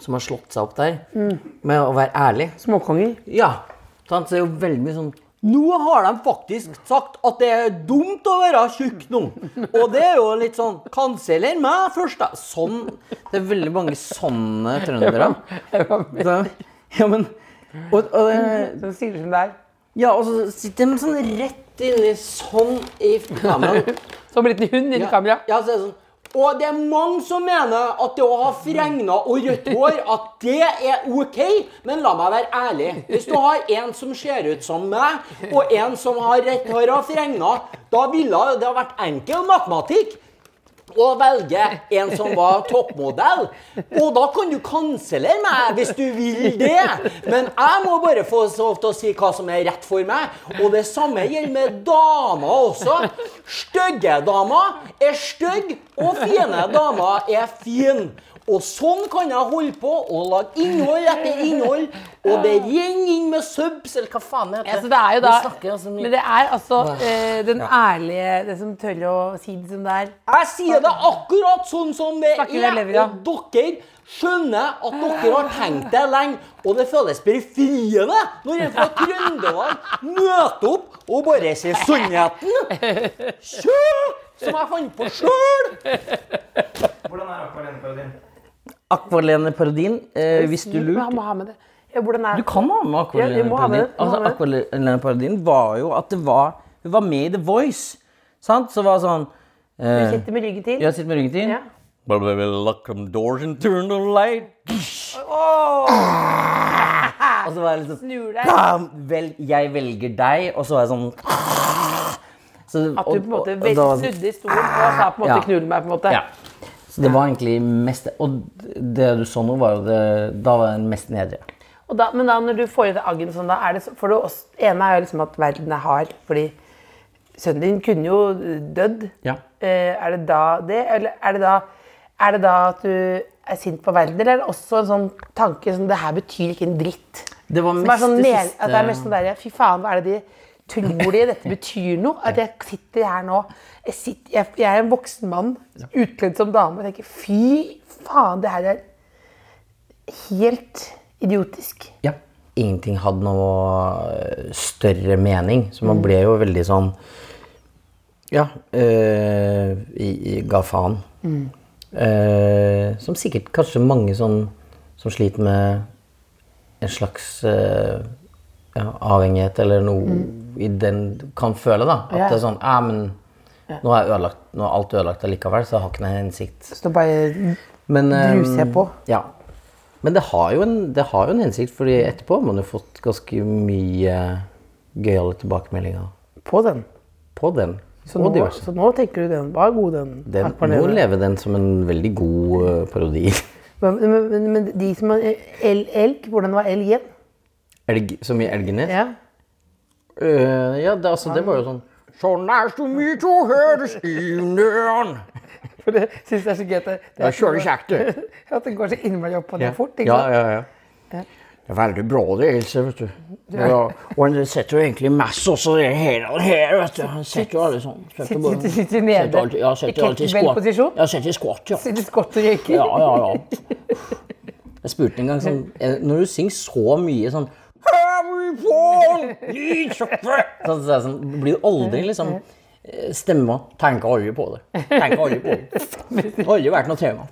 som har slått seg opp der
Mhm.
med å være ærlig.
Småkonger.
Ja, sant? så det er jo veldig mye sånn Nå har de faktisk sagt at det er dumt å være tjukk nå. Og det er jo litt sånn Kanseller meg først, da. Sånn. Det er veldig mange sånne trøndere. Så- Ja, men og, og det,
Som sier det som det er.
Ja, og så sitter de sånn rett inni sånn i kameraet.
Som en liten hund inni kamera.
Ja, så er det sånn. Og det er mange som mener at det å ha fregna og rødt hår, at det er OK. Men la meg være ærlig. Hvis du har en som ser ut som meg, og en som har rødt hår og fregna, da ville det ha vært enkel matematikk å velge en som var toppmodell. Og da kan du kansellere meg hvis du vil det. Men jeg må bare få lov til å si hva som er rett for meg. Og det samme gjelder med damer også. Stygge damer er stygge, og fine damer er fine. Og sånn kan jeg holde på og lage innhold etter innhold. Og det renner inn med subs, eller hva faen det
Ja, så
heter.
det er jo da,
Vi snakker altså mye.
men det er altså eh, den ærlige, det som tør å si det som det er.
Jeg sier det akkurat sånn som det
Snakker du
er.
elever, ja?
Og dere skjønner at dere har tenkt det lenge. Og det føles befriende når en fra Trøndelag møter opp og bare sier sannheten. Sjø! Som jeg fant på sjøl.
Hvordan er akvarellparodien?
Akvarelene-parodien, eh, hvis du
Men han må ha med det. Ja, hvordan er
Du kan ha med
Ja, vi må ha med
akvarellene-parodien.
det, vi må
Altså,
ha med det.
akvarellene-parodien var jo at det var Hun var med i The Voice, sant? Så var det sånn
Du
eh,
sitter med ryggen til.
Jeg sitter med ryggen til.
Ja.
Blah, blah, blah, lock them doors and turn the light. Og så var jeg liksom
Snur deg.
Bam! Vel, jeg velger deg, og så var jeg sånn Så-
At du på en måte
og- og
vel-
da var det sånn-
snudde i stolen og sa på en måte
Ja.
'knull meg'. på en måte.
Ja. Så det var egentlig mest Og det du så nå, var jo det Da var den mest nedre.
Og da, men da når du får i deg aggen sånn, da er det så, For det også, ene er jo liksom at verden er hard, fordi sønnen din kunne jo dødd.
Ja.
Eh, er det da det, eller er det da, er det da at du er sint på verden, eller er det også en sånn tanke som det her betyr ikke en dritt?
Det var
Som
mest
er sånn
det
ned-
siste-
At det er mest sånn derre Fy faen, hva er det de tror de dette betyr noe? At jeg sitter her nå Jeg, sitter, jeg, jeg er en voksen mann utkledd som dame og tenker fy faen, det her er helt idiotisk.
Ja. Ingenting hadde noe eh, større mening, så man ble jo veldig sånn Ja. Øh, i, i, ga faen. Eh, som sikkert kanskje mange sånn som sliter med en slags eh, ja, avhengighet eller noe i den kan føle, da. At
Ja.
det er sånn Ja, men nå er, jeg ødelagt, nå er alt ødelagt allikevel, så jeg har ikke noen hensikt.
Så nå bare
Men, eh,
Bruser jeg på?
Ja. Men det har, jo en, det har jo en hensikt, fordi etterpå har man jo fått ganske mye gøyale tilbakemeldinger
på den.
på den.
Så
og
nå,
diverse.
så nå tenker du den var god, den.
Den,
Akvarellen.
nå lever den som en veldig god eh, parodi.
Men, men, men, men de som har el, elg, hvordan var elgen?
Elg, så mye elgenes.
Ja.
Eh, ja, det, altså, det var jo sånn Sånn er så mye å høres i nøren.
For det syns jeg er så gøy. at Det, det
Ja, kjører kjekt, du.
At det går så innmari opp og ned fort. ikke
Ja,
sant?
ja, ja. Det er veldig bra det, Else, vet du. Ja, og han sitter jo egentlig mest også det her og her, vet du. Han sitter jo alle sånn. Sitter,
Sitter- sitter- sitter nede
alltid- ja,
i
sitter alltid i
kettlebell-posisjon?
squat. Ja, sitter i squat, ja.
Så det skotter og røyker.
Ja, ja, ja.
Jeg spurte en gang sånn eh, Når du synger så mye sånn Sånn, så er det sånn, blir du aldri liksom eh, Stemma. Tenker aldri på det. Tenker aldri på det. Det har aldri vært noe tema.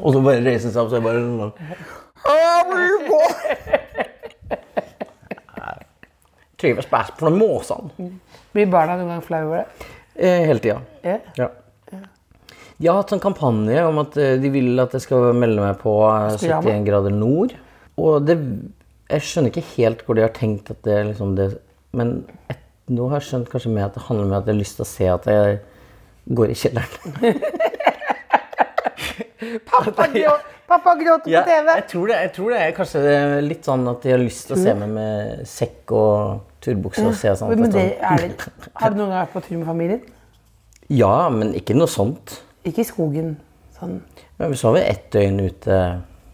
Og så bare reiser han seg opp, så er det bare sånn Jeg Trives best på de måsene.
Blir barna noen gang flau over det?
Eh, Hele tida.
Ja.
Ja. De har hatt sånn kampanje om at eh, de vil at jeg skal melde meg på eh,
Skal jeg med?
71 grader nord. Og det, jeg skjønner ikke helt hvor de har tenkt at det er liksom det Men et, nå har jeg skjønt kanskje mer at det handler om at jeg har lyst til å se at jeg går i kjelleren.
Pappa, grå, pappa gråter på TV.
jeg, tror det, jeg tror det er kanskje det er litt sånn at de har lyst til å se meg med sekk og turbukse og se sånn.
Men det er det. Har du noen gang vært på tur med familien?
Ja, men ikke noe sånt.
Ikke i skogen. Sånn
Men så har vi ett døgn ute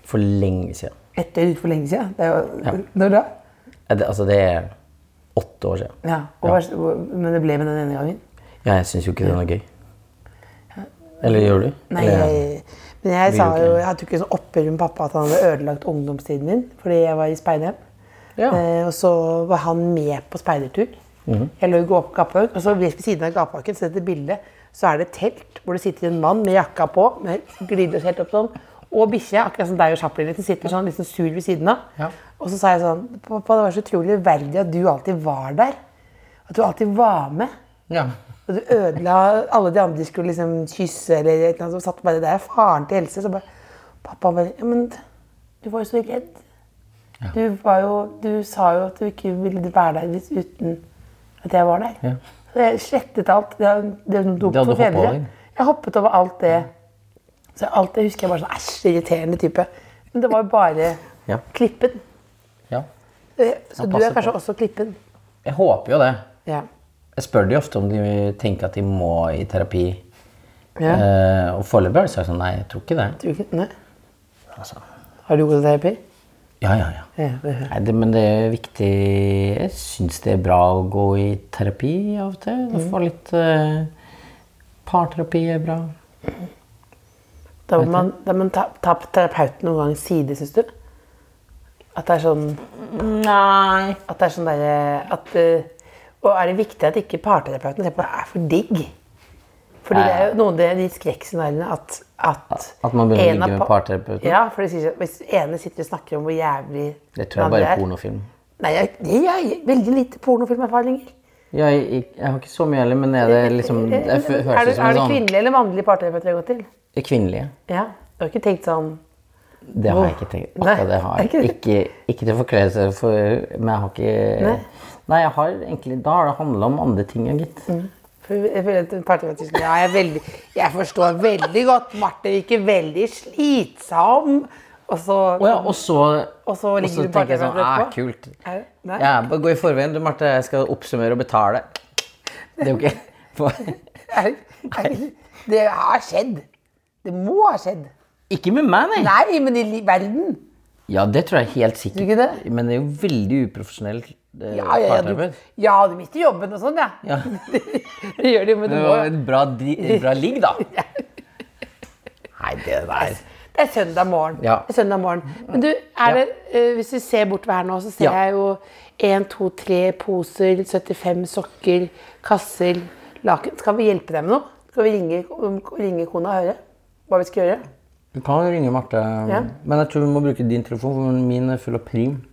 for lenge siden.
ett døgn for lenge siden. Det er jo, Når da?
Ja, det- Altså, det er åtte år siden.
Ja. Og, hva- Men det ble med den ene gangen?
Ja, jeg syns jo ikke det var gøy. Eller gjør du?
Nei,
Eller-
jeg, men jeg
Vil
sa
du ikke?
jo, jeg hadde jo ikke sånn oppgjør med pappa at han hadde ødelagt ungdomstiden min fordi jeg var i speiderhjem.
Ja.
Eh, og så var han med på speidertur. Jeg lå i gå- gapebakken, og så rett ved siden av gapebakken så dette bildet, så er det et telt hvor det sitter en mann med jakka på, med glidelås helt opp sånn, og bikkje, akkurat som deg og Chaplin, liksom, sitter sånn litt sånn sur ved siden av. Og så sa jeg sånn Pappa, det var så utrolig uverdig at du alltid var der. At du alltid var med. Og du ødela alle de andre de skulle liksom kysse eller et eller annet, så satt bare der. Faren til Else så bare Pappa bare Ja, men du var jo så redd. Du var jo Du sa jo at du ikke ville være der hvis uten at jeg var der. Så jeg slettet alt. Det er det er noe dumt
Det hadde
for
du hoppet
fedre.
over.
Jeg hoppet over alt det. Så alt det husker jeg bare sånn æsj, irriterende type. Men det var jo bare
Ja.
klippen.
ja.
Eh, Så
Jeg
du er
passer
kanskje
på.
også klippen.
Jeg håper jo det.
Ja.
Jeg spør de ofte om de tenker at de må i terapi.
ja.
Eh, og foreløpig har de sagt sånn nei, jeg tror ikke det.
Tror du ikke- Nei.
Altså,
Har du gått i terapi?
ja, ja, ja.
Ja, det hører jeg.
Nei, det, men det er viktig Jeg syns det er bra å gå i terapi av og til. Å få litt eh, Parterapi er bra.
Da må man, da må man ta, ta terapeuten noen gang side, syns du? At det er sånn Nei. At det er sånn derre at, eh, Og er det viktig at ikke parterapeuten ser på det er for digg? Fordi det er jo noen av de- de skrekkscenarioene at, at
At man begynner å
en av
ligge med
pa-
parterapeuten?
Ja, for det sier seg- hvis ene sitter og snakker om hvor jævlig
Det tror jeg
den andre
bare
er.
er pornofilm.
Nei, jeg, jeg, jeg, veldig lite pornofilmerfaringer.
Jeg, jeg, jeg har ikke så mye heller, men er det liksom
Eh,
Jeg fø-
er
høres
det,
ut som
er
en
det
sånn
kvinnelige eller mannlige parterapeut jeg har gått til?
Kvinnelige.
Ja. Du har ikke tenkt sånn
Det har jeg ikke tenkt. Akkurat det har jeg. Ikke, ikke til forkleinelse for Men jeg har ikke Nei,
Nei.
jeg har egentlig Da har det handla om andre ting, ja, gitt.
For jeg føler at en parterapeut sier, sånn, ja, jeg, er veldig, jeg forstår veldig godt Marte virker veldig slitsom. Og så
Å ja, og så
Og så ligger du
tenker jeg sånn
partneren
Æ,
etterpå?
kult.
Er- Nei?
Ja, bare gå i forveien. Du, Marte, jeg skal oppsummere og betale. Det er jo ikke
Er, er, det har skjedd. Det må ha skjedd.
Ikke med meg, nei.
Nei, men i li- verden.
Ja, det tror jeg helt sikkert.
Tror du ikke
Men det er jo veldig uprofesjonell eh,
Ja, ja, ja, du,
parterapeut.
ja, du mister jobben og sånn, ja.
Ja.
Det gjør du, men du
Det
må
var en bra, dri- bra ligg, da. Nei, det der
Det er søndag morgen.
Ja.
Det er søndag morgen. Men du, er det, eh, hvis du ser bortover her nå, så ser
Ja.
jeg jo 1, 2, 3 poser, 75 sokker, kasser, laken. Skal vi hjelpe deg med noe? Skal vi ringe, ringe kona og høre hva vi skal gjøre?
Du kan jo ringe Marte,
Ja.
men jeg tror vi må bruke din telefon, for min er full av prim.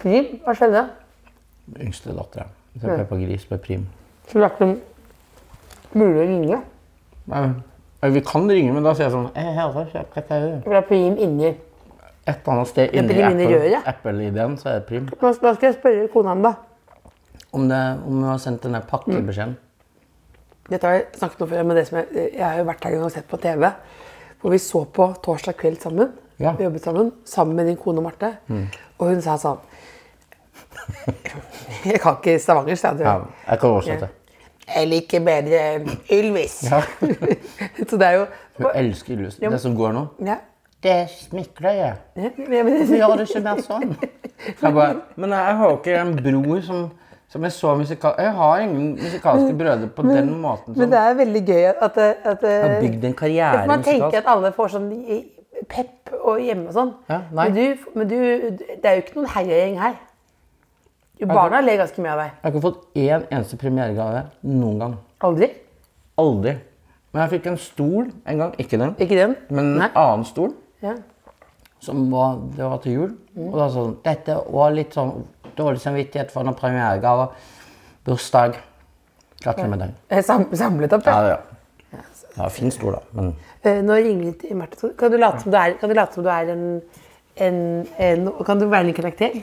Prim, hva skjedde?
Yngste dattera. Så Peppa Gris med prim.
Skulle vært noe mulig å ringe.
Nei, nei, vi kan ringe, men da sier jeg sånn «Eh, her,
altså,
hva skjer? Hva er det?»
For det er prim inni.
Et eller annet sted inni
prim inni
Apple-
røret.
Apple-ideen, så er det prim.
Hva hva skal jeg spørre kona om, da?
Om, det, om hun har sendt denne pakkebeskjeden.
Mm.
Dette har jeg snakket om før, men det som jeg, jeg har jo vært her en gang og sett på TV. Hvor vi så på torsdag kveld sammen.
Ja.
Vi jobbet sammen sammen med din kone Marte. Og hun sa sånn Jeg kan ikke stavangersk, sa du.
Ja, jeg kan oversette.
Ja. Jeg liker bedre Ylvis.
Ja.
Så det er jo
Hun elsker Ylvis. Det som går nå.
ja.
Det smikker jeg.
Ja, men-
Hvorfor gjør du ikke mer sånn? Jeg bare, men jeg har jo ikke en bror som, som er så musikal... Jeg har ingen musikalske brødre på den måten
Mm. Men
som
det er veldig gøy at, at, at
sånn. har bygd en
Hvis
karriere
man tenker
musikalsk.
at alle får sånn i- pep og hjemme og sånn.
Ja, nei.
Men, du, men du, det er jo ikke noen heiagjeng her. Jo, Barna ler ganske mye av deg.
Jeg har ikke fått én eneste premieregave noen gang.
Aldri?
Aldri. Men jeg fikk en stol en gang. Ikke den,
Ikke den?
men en
Nei.
annen stol.
Ja.
Som var, det var til jul.
Mm.
Og da sånn Dette var litt sånn dårlig samvittighet for noen premieregaver. Bursdag. Gratulerer med dagen.
Eh, sam- Samlet opp, ja.
Ja, ja. ja. Fin stol, da. Men
Eh, Nå ringer det til Marte. Thor. Kan du late som du er, kan du late som du er en, en, en Kan du være en karakter?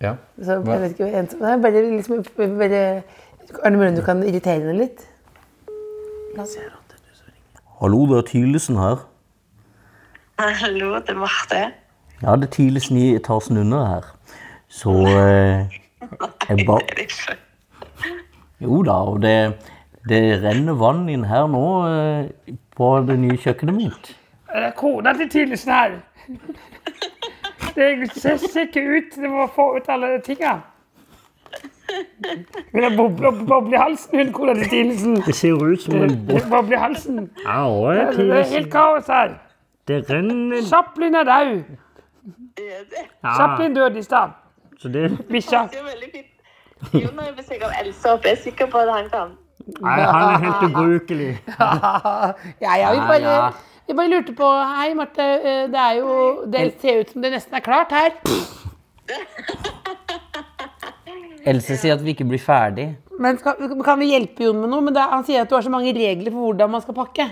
ja.
Så,
Hva?
jeg vet ikke, en, som- nei, bare, liksom, bare, er det mulig du kan irritere henne litt? La oss gjøre det.
Hallo, det er Tylesen her.
Hallo, det er Marte.
Ja, det er Tylesen i etasjen under her. Så eh, jeg ba...
Det er ikke-
Jo da, og det, det renner vann inn her nå eh, på det nye kjøkkenet mitt.
Det er kona til Tylesen her. Det ser ser ikke ut Det må få ut alle tinga. Hun har boble, boble i halsen, hun kona til Tylesen.
Det ser ut som en
Hun har sånn. Boble i halsen.
Au, jeg
Det
tror
er helt kaos her.
det renner
Chaplin er død.
ja,
Chaplin døde i stad.
Så det
Bikkja.
Det er veldig fint. Jon har jo besøk av Else opp. Jeg er sikker på at han kan.
Nei, han er helt ubrukelig.
Ja, ja, vi bare, vi bare lurte på Hei, Marte. eh, Det er jo Det ser ut som det nesten er klart her.
Else sier at vi ikke blir ferdig.
Men skal, Kan vi hjelpe Jon med noe? Men det, er- Han sier at du har så mange regler for hvordan man skal pakke.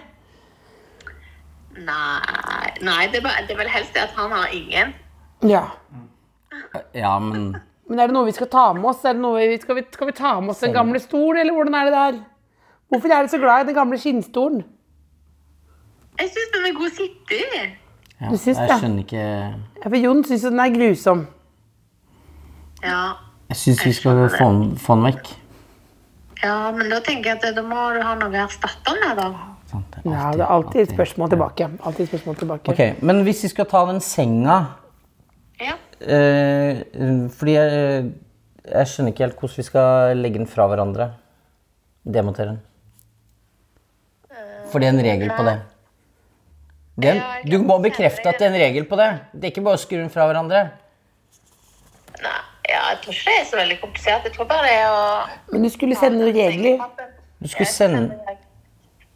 Nei, nei det, er bare, det er vel helst det at han har ingen.
Ja.
Ja, men
Men er det noe vi skal ta med oss? Er det noe vi, skal, vi, skal vi ta med oss den gamle stol, eller hvordan er det der? Hvorfor er du så glad i den gamle skinnstolen?
Jeg syns den er god å sitte i.
ja,
Du syns
jeg
det?
skjønner ikke
Ja, For Jon syns jo den er grusom.
Ja.
Jeg syns vi skal få den- få den vekk.
ja, men da tenker jeg at da må du ha noe erstattende, da.
Sant, det er
Ja,
alltid-
Det er alltid et
alltid.
spørsmål tilbake. Alltid et spørsmål tilbake.
Ok, Men hvis vi skal ta den senga
Ja.
eh, Fordi jeg, jeg skjønner ikke helt hvordan vi skal legge den fra hverandre. Demontere den. For det er en regel på det. Det er en- du må bekrefte at det er en regel på det. Det er ikke bare å skru den fra hverandre.
Nei, ja, jeg tror ikke det er så veldig komplisert. Jeg tror bare det er å
Men du skulle sende noen regler.
Du skulle sende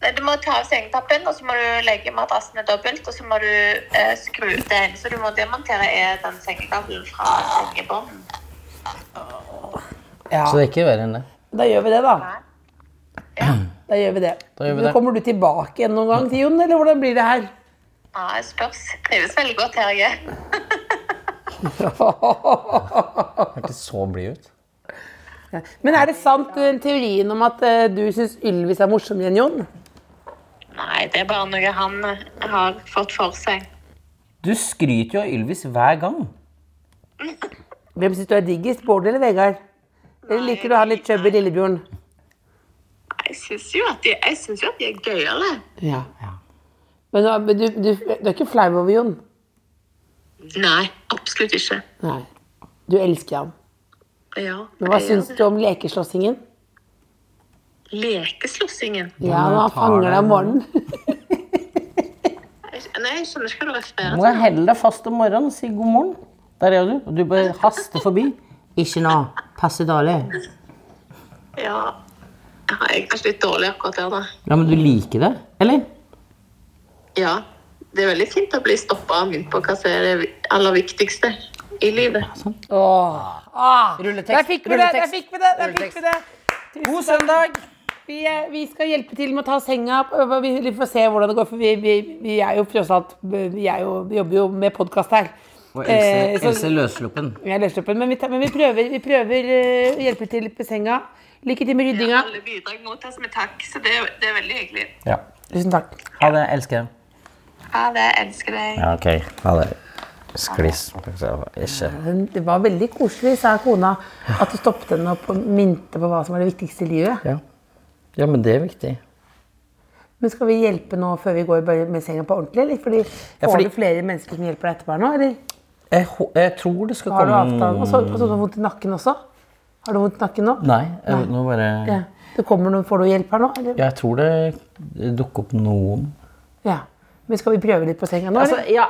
Nei, Du må ta av sengetappen, og så må du legge madrassene dobbelt. Og så må du eh, skru ut det ene. Så du må demontere eh, den sengetabelen fra sengebånden.
Så det er ikke verre enn det.
Da gjør vi det, da. Da gjør vi det.
Da gjør vi
Men
det.
Kommer du tilbake igjen noen gang til Jon, eller hvordan blir det her?
Ja, jeg spørs. Trives veldig godt her jeg er.
Hørtes så blid ut.
Men er det sant den teorien om at eh, du syns Ylvis er morsommere enn Jon?
Nei, det er bare noe han har fått for seg.
Du skryter jo av Ylvis hver gang.
Hvem syns du er diggest, Bård eller Vegard? Eller liker du han litt chubby Lillebjørn?
Jeg syns jo at de, jeg synes jo at de er gøyale.
Ja. Men, da- men du, du, du er ikke flau over Jon?
Nei, absolutt ikke.
Nei. Du elsker ham.
Ja,
Men hva
jeg
syns
gjør det.
du om lekeslåssingen?
Lekeslåssingen?
Ja, når han fanger deg om morgenen.
Jeg- Nei, jeg skjønner ikke hva du refererer
Må jeg holde deg fast om morgenen og si god morgen? Der er du. Og du bare haster forbi. Ikke nå. Passe dårlig.
til. Ja. Ja, Jeg er kanskje litt dårlig akkurat der, da.
Ja, men du liker det, eller?
Ja. Det er veldig fint å bli stoppa og minnet på hva som er det aller viktigste i livet.
Rulletekst.
Ah, Der fikk vi det! Der fikk vi det! Der fikk vi det.
God søndag!
Vi, eh, vi skal hjelpe til med å ta senga opp. og Vi vi får se hvordan det går, for vi, vi, vi er jo tross alt Vi, er jo, vi jobber jo med podkast her.
Og
Eh,
Else,
så-
Else løssluppen.
Jeg er løssluppen, men vi, tar- men vi prøver, vi prøver eh, å hjelpe til på senga. Lykke til med ryddinga.
Alle bidrag mottas med takk, så det er, det er veldig hyggelig.
Ja.
Tusen takk.
Ha det. Elsker deg.
Ha det. Elsker deg.
Ja, OK. Ha det. Skliss. Ikke
Hun- Det var veldig koselig, sa kona, at du stoppet henne opp og minte på hva som var det viktigste i livet.
Ja. ja, men det er viktig.
Men skal vi hjelpe nå før vi går bare med senga på ordentlig, eller? Fordi,
Ja, fordi-
Får du flere mennesker som hjelper deg etterpå her nå, eller?
Jeg, hå- jeg tror det skal
Har du
komme
avtale? Og så og så har du vondt i nakken også? Har du vondt i nakken nå?
Nei, jeg, nå bare
Ja. Det kommer noen, får du hjelp her nå, eller?
Jeg tror det dukker opp noen.
Ja. Men skal vi prøve litt på senga nå, eller?
ja,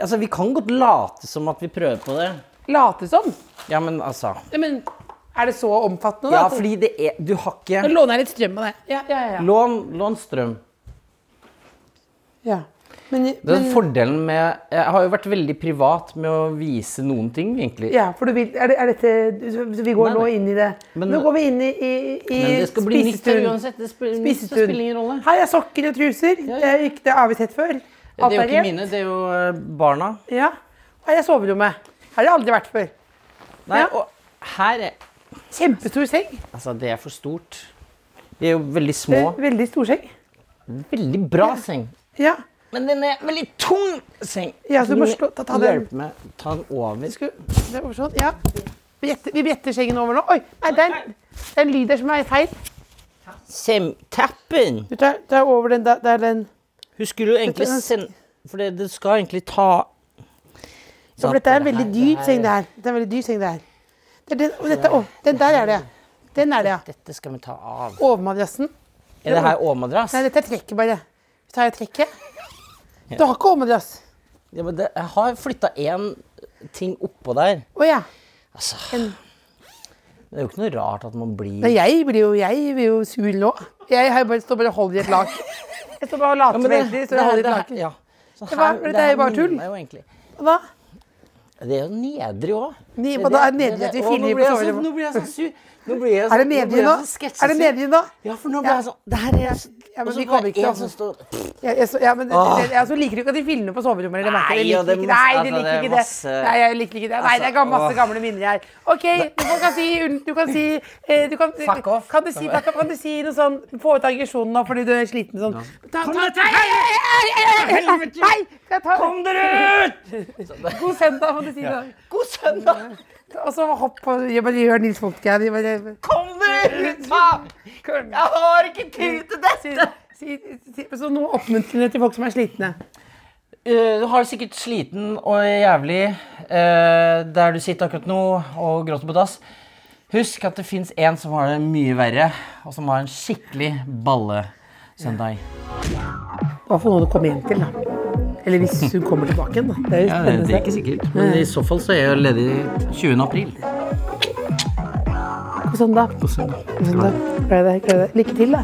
altså, vi kan godt late som at vi prøver på det.
Late som?
Ja, men altså
Ja, men er det så omfattende, da?
Ja,
at-
fordi det er Du har
Nå
ikke
låner jeg litt strøm av deg. Ja, ja, ja.
Lån, lån strøm.
ja. Men,
Det er
men,
fordelen med Jeg har jo vært veldig privat med å vise noen ting, egentlig.
ja, for du vil Er, det, er dette så Vi går
Nei,
nå
nei.
inn i det.
Men-
nå går vi inn i, i, i
Men det skal bli nytt her
spisestuen.
uansett. Det spiller, nytt, så
Spisestuen.
spiller ingen rolle.
Her er sokker og truser. Det er ikke det har vi sett før.
Det er jo
rent.
ikke mine, det er jo eh, barna.
Ja. Her er soverommet. Her har jeg aldri vært før.
Nei,
Ja.
og her er
Kjempestor seng.
Altså, det er for stort. De er jo veldig små.
Veldig stor seng.
Veldig bra seng.
Ja.
Men den er veldig tung seng.
Ja, så du må slå- ta- ta den.
Hjelp meg. Ta den over.
Skal, det var sånn. ja. Vi bretter- Vi bretter sengen over nå. Oi, nei, det er en, det er en lyd der som er feil.
Sem- Tappen!
Du tar, tar over den der. der den.
Hun skulle jo egentlig
Dette er-
sende For det, det skal egentlig ta
Så for dette er en veldig dyr seng, det her. Det er en veldig dyr seng, det her. Det er den, og dette, å, den der er det, ja. Den er det, ja.
Dette skal vi ta av.
Overmadrassen.
Er det her overmadrass?
Nei, dette er trekket, bare. Så tar jeg trekket. Du har ikke overmadrass.
Ja, men det, jeg har flytta én ting oppå der.
Å ja.
Altså,
En-
det er jo ikke noe rart at man blir
Nei, jeg blir jo, jeg blir jo sur nå. Jeg har jo bare, står bare og holder i et lak. Jeg står bare og
Ja,
later
men
som jeg egentlig står og holder i et
det-
laken.
ja. Så
Det var- det er jo bare tull.
minner meg jo egentlig-
Hva?
Det er jo nedrig òg.
Ni- hva da? Er det nedrig at vi filmer på soverommet?
Nå blir jeg så sur. Nå blir jeg så,
Er Altså, det
nå blir
medie
jeg
nå?
så sketsjesur.
Er det medie nå?
Ja, for nå
Ja.
blir jeg sånn Det her er så-
Ja, men
Og så
vi
var
kommer
det
ikke til
en
å-
som står
Ja, jeg, så, ja, men det, det, jeg så liker du ikke at de filmer på soverommet? Eller merker,
Nei,
jeg
og det
liker
er masse-
ikke, nei,
altså,
de
det
liker
er
ikke det.
masse- Altså,
Nei, jeg liker ikke det. Nei, det er gam- masse
åh.
gamle minner her. OK, du kan si du kan si, eh, du kan,
Fuck off.
Kan du si, fuck off, kan du si noe sånn Få ut aggresjonen nå fordi du er sliten sånn. Ta, ta, nei, nei, nei, nei, nei, nei, skal jeg ta Kom dere ut! God søndag, må du si. da.
God søndag!
Og så hopp på Jeg bare gjør Nils Folke her. jeg bare-
Kom dere ut, da! Jeg har ikke tid til dette!
Mm. Si, si, så noe oppmuntrende til folk som er slitne.
Eh, du har det sikkert sliten og jævlig eh, der du sitter akkurat nå og gråter på dass. Husk at det fins en som har det mye verre, og som har en skikkelig ballesøndag.
Hva får noen å komme hjem til, da? Eller hvis hun kommer tilbake igjen, da. Det er jo spennende. å se.
ikke sikkert, men i så fall så er jeg ledig 20. april.
God søndag. God søndag. Gleder deg. gleder deg. Lykke til, da.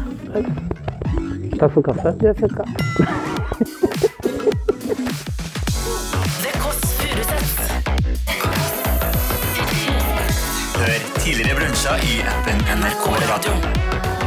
Takk for kaffe. Du er fucka.
The Kåss Furuseths.
Hør tidligere brunsja i appen NRK Radio.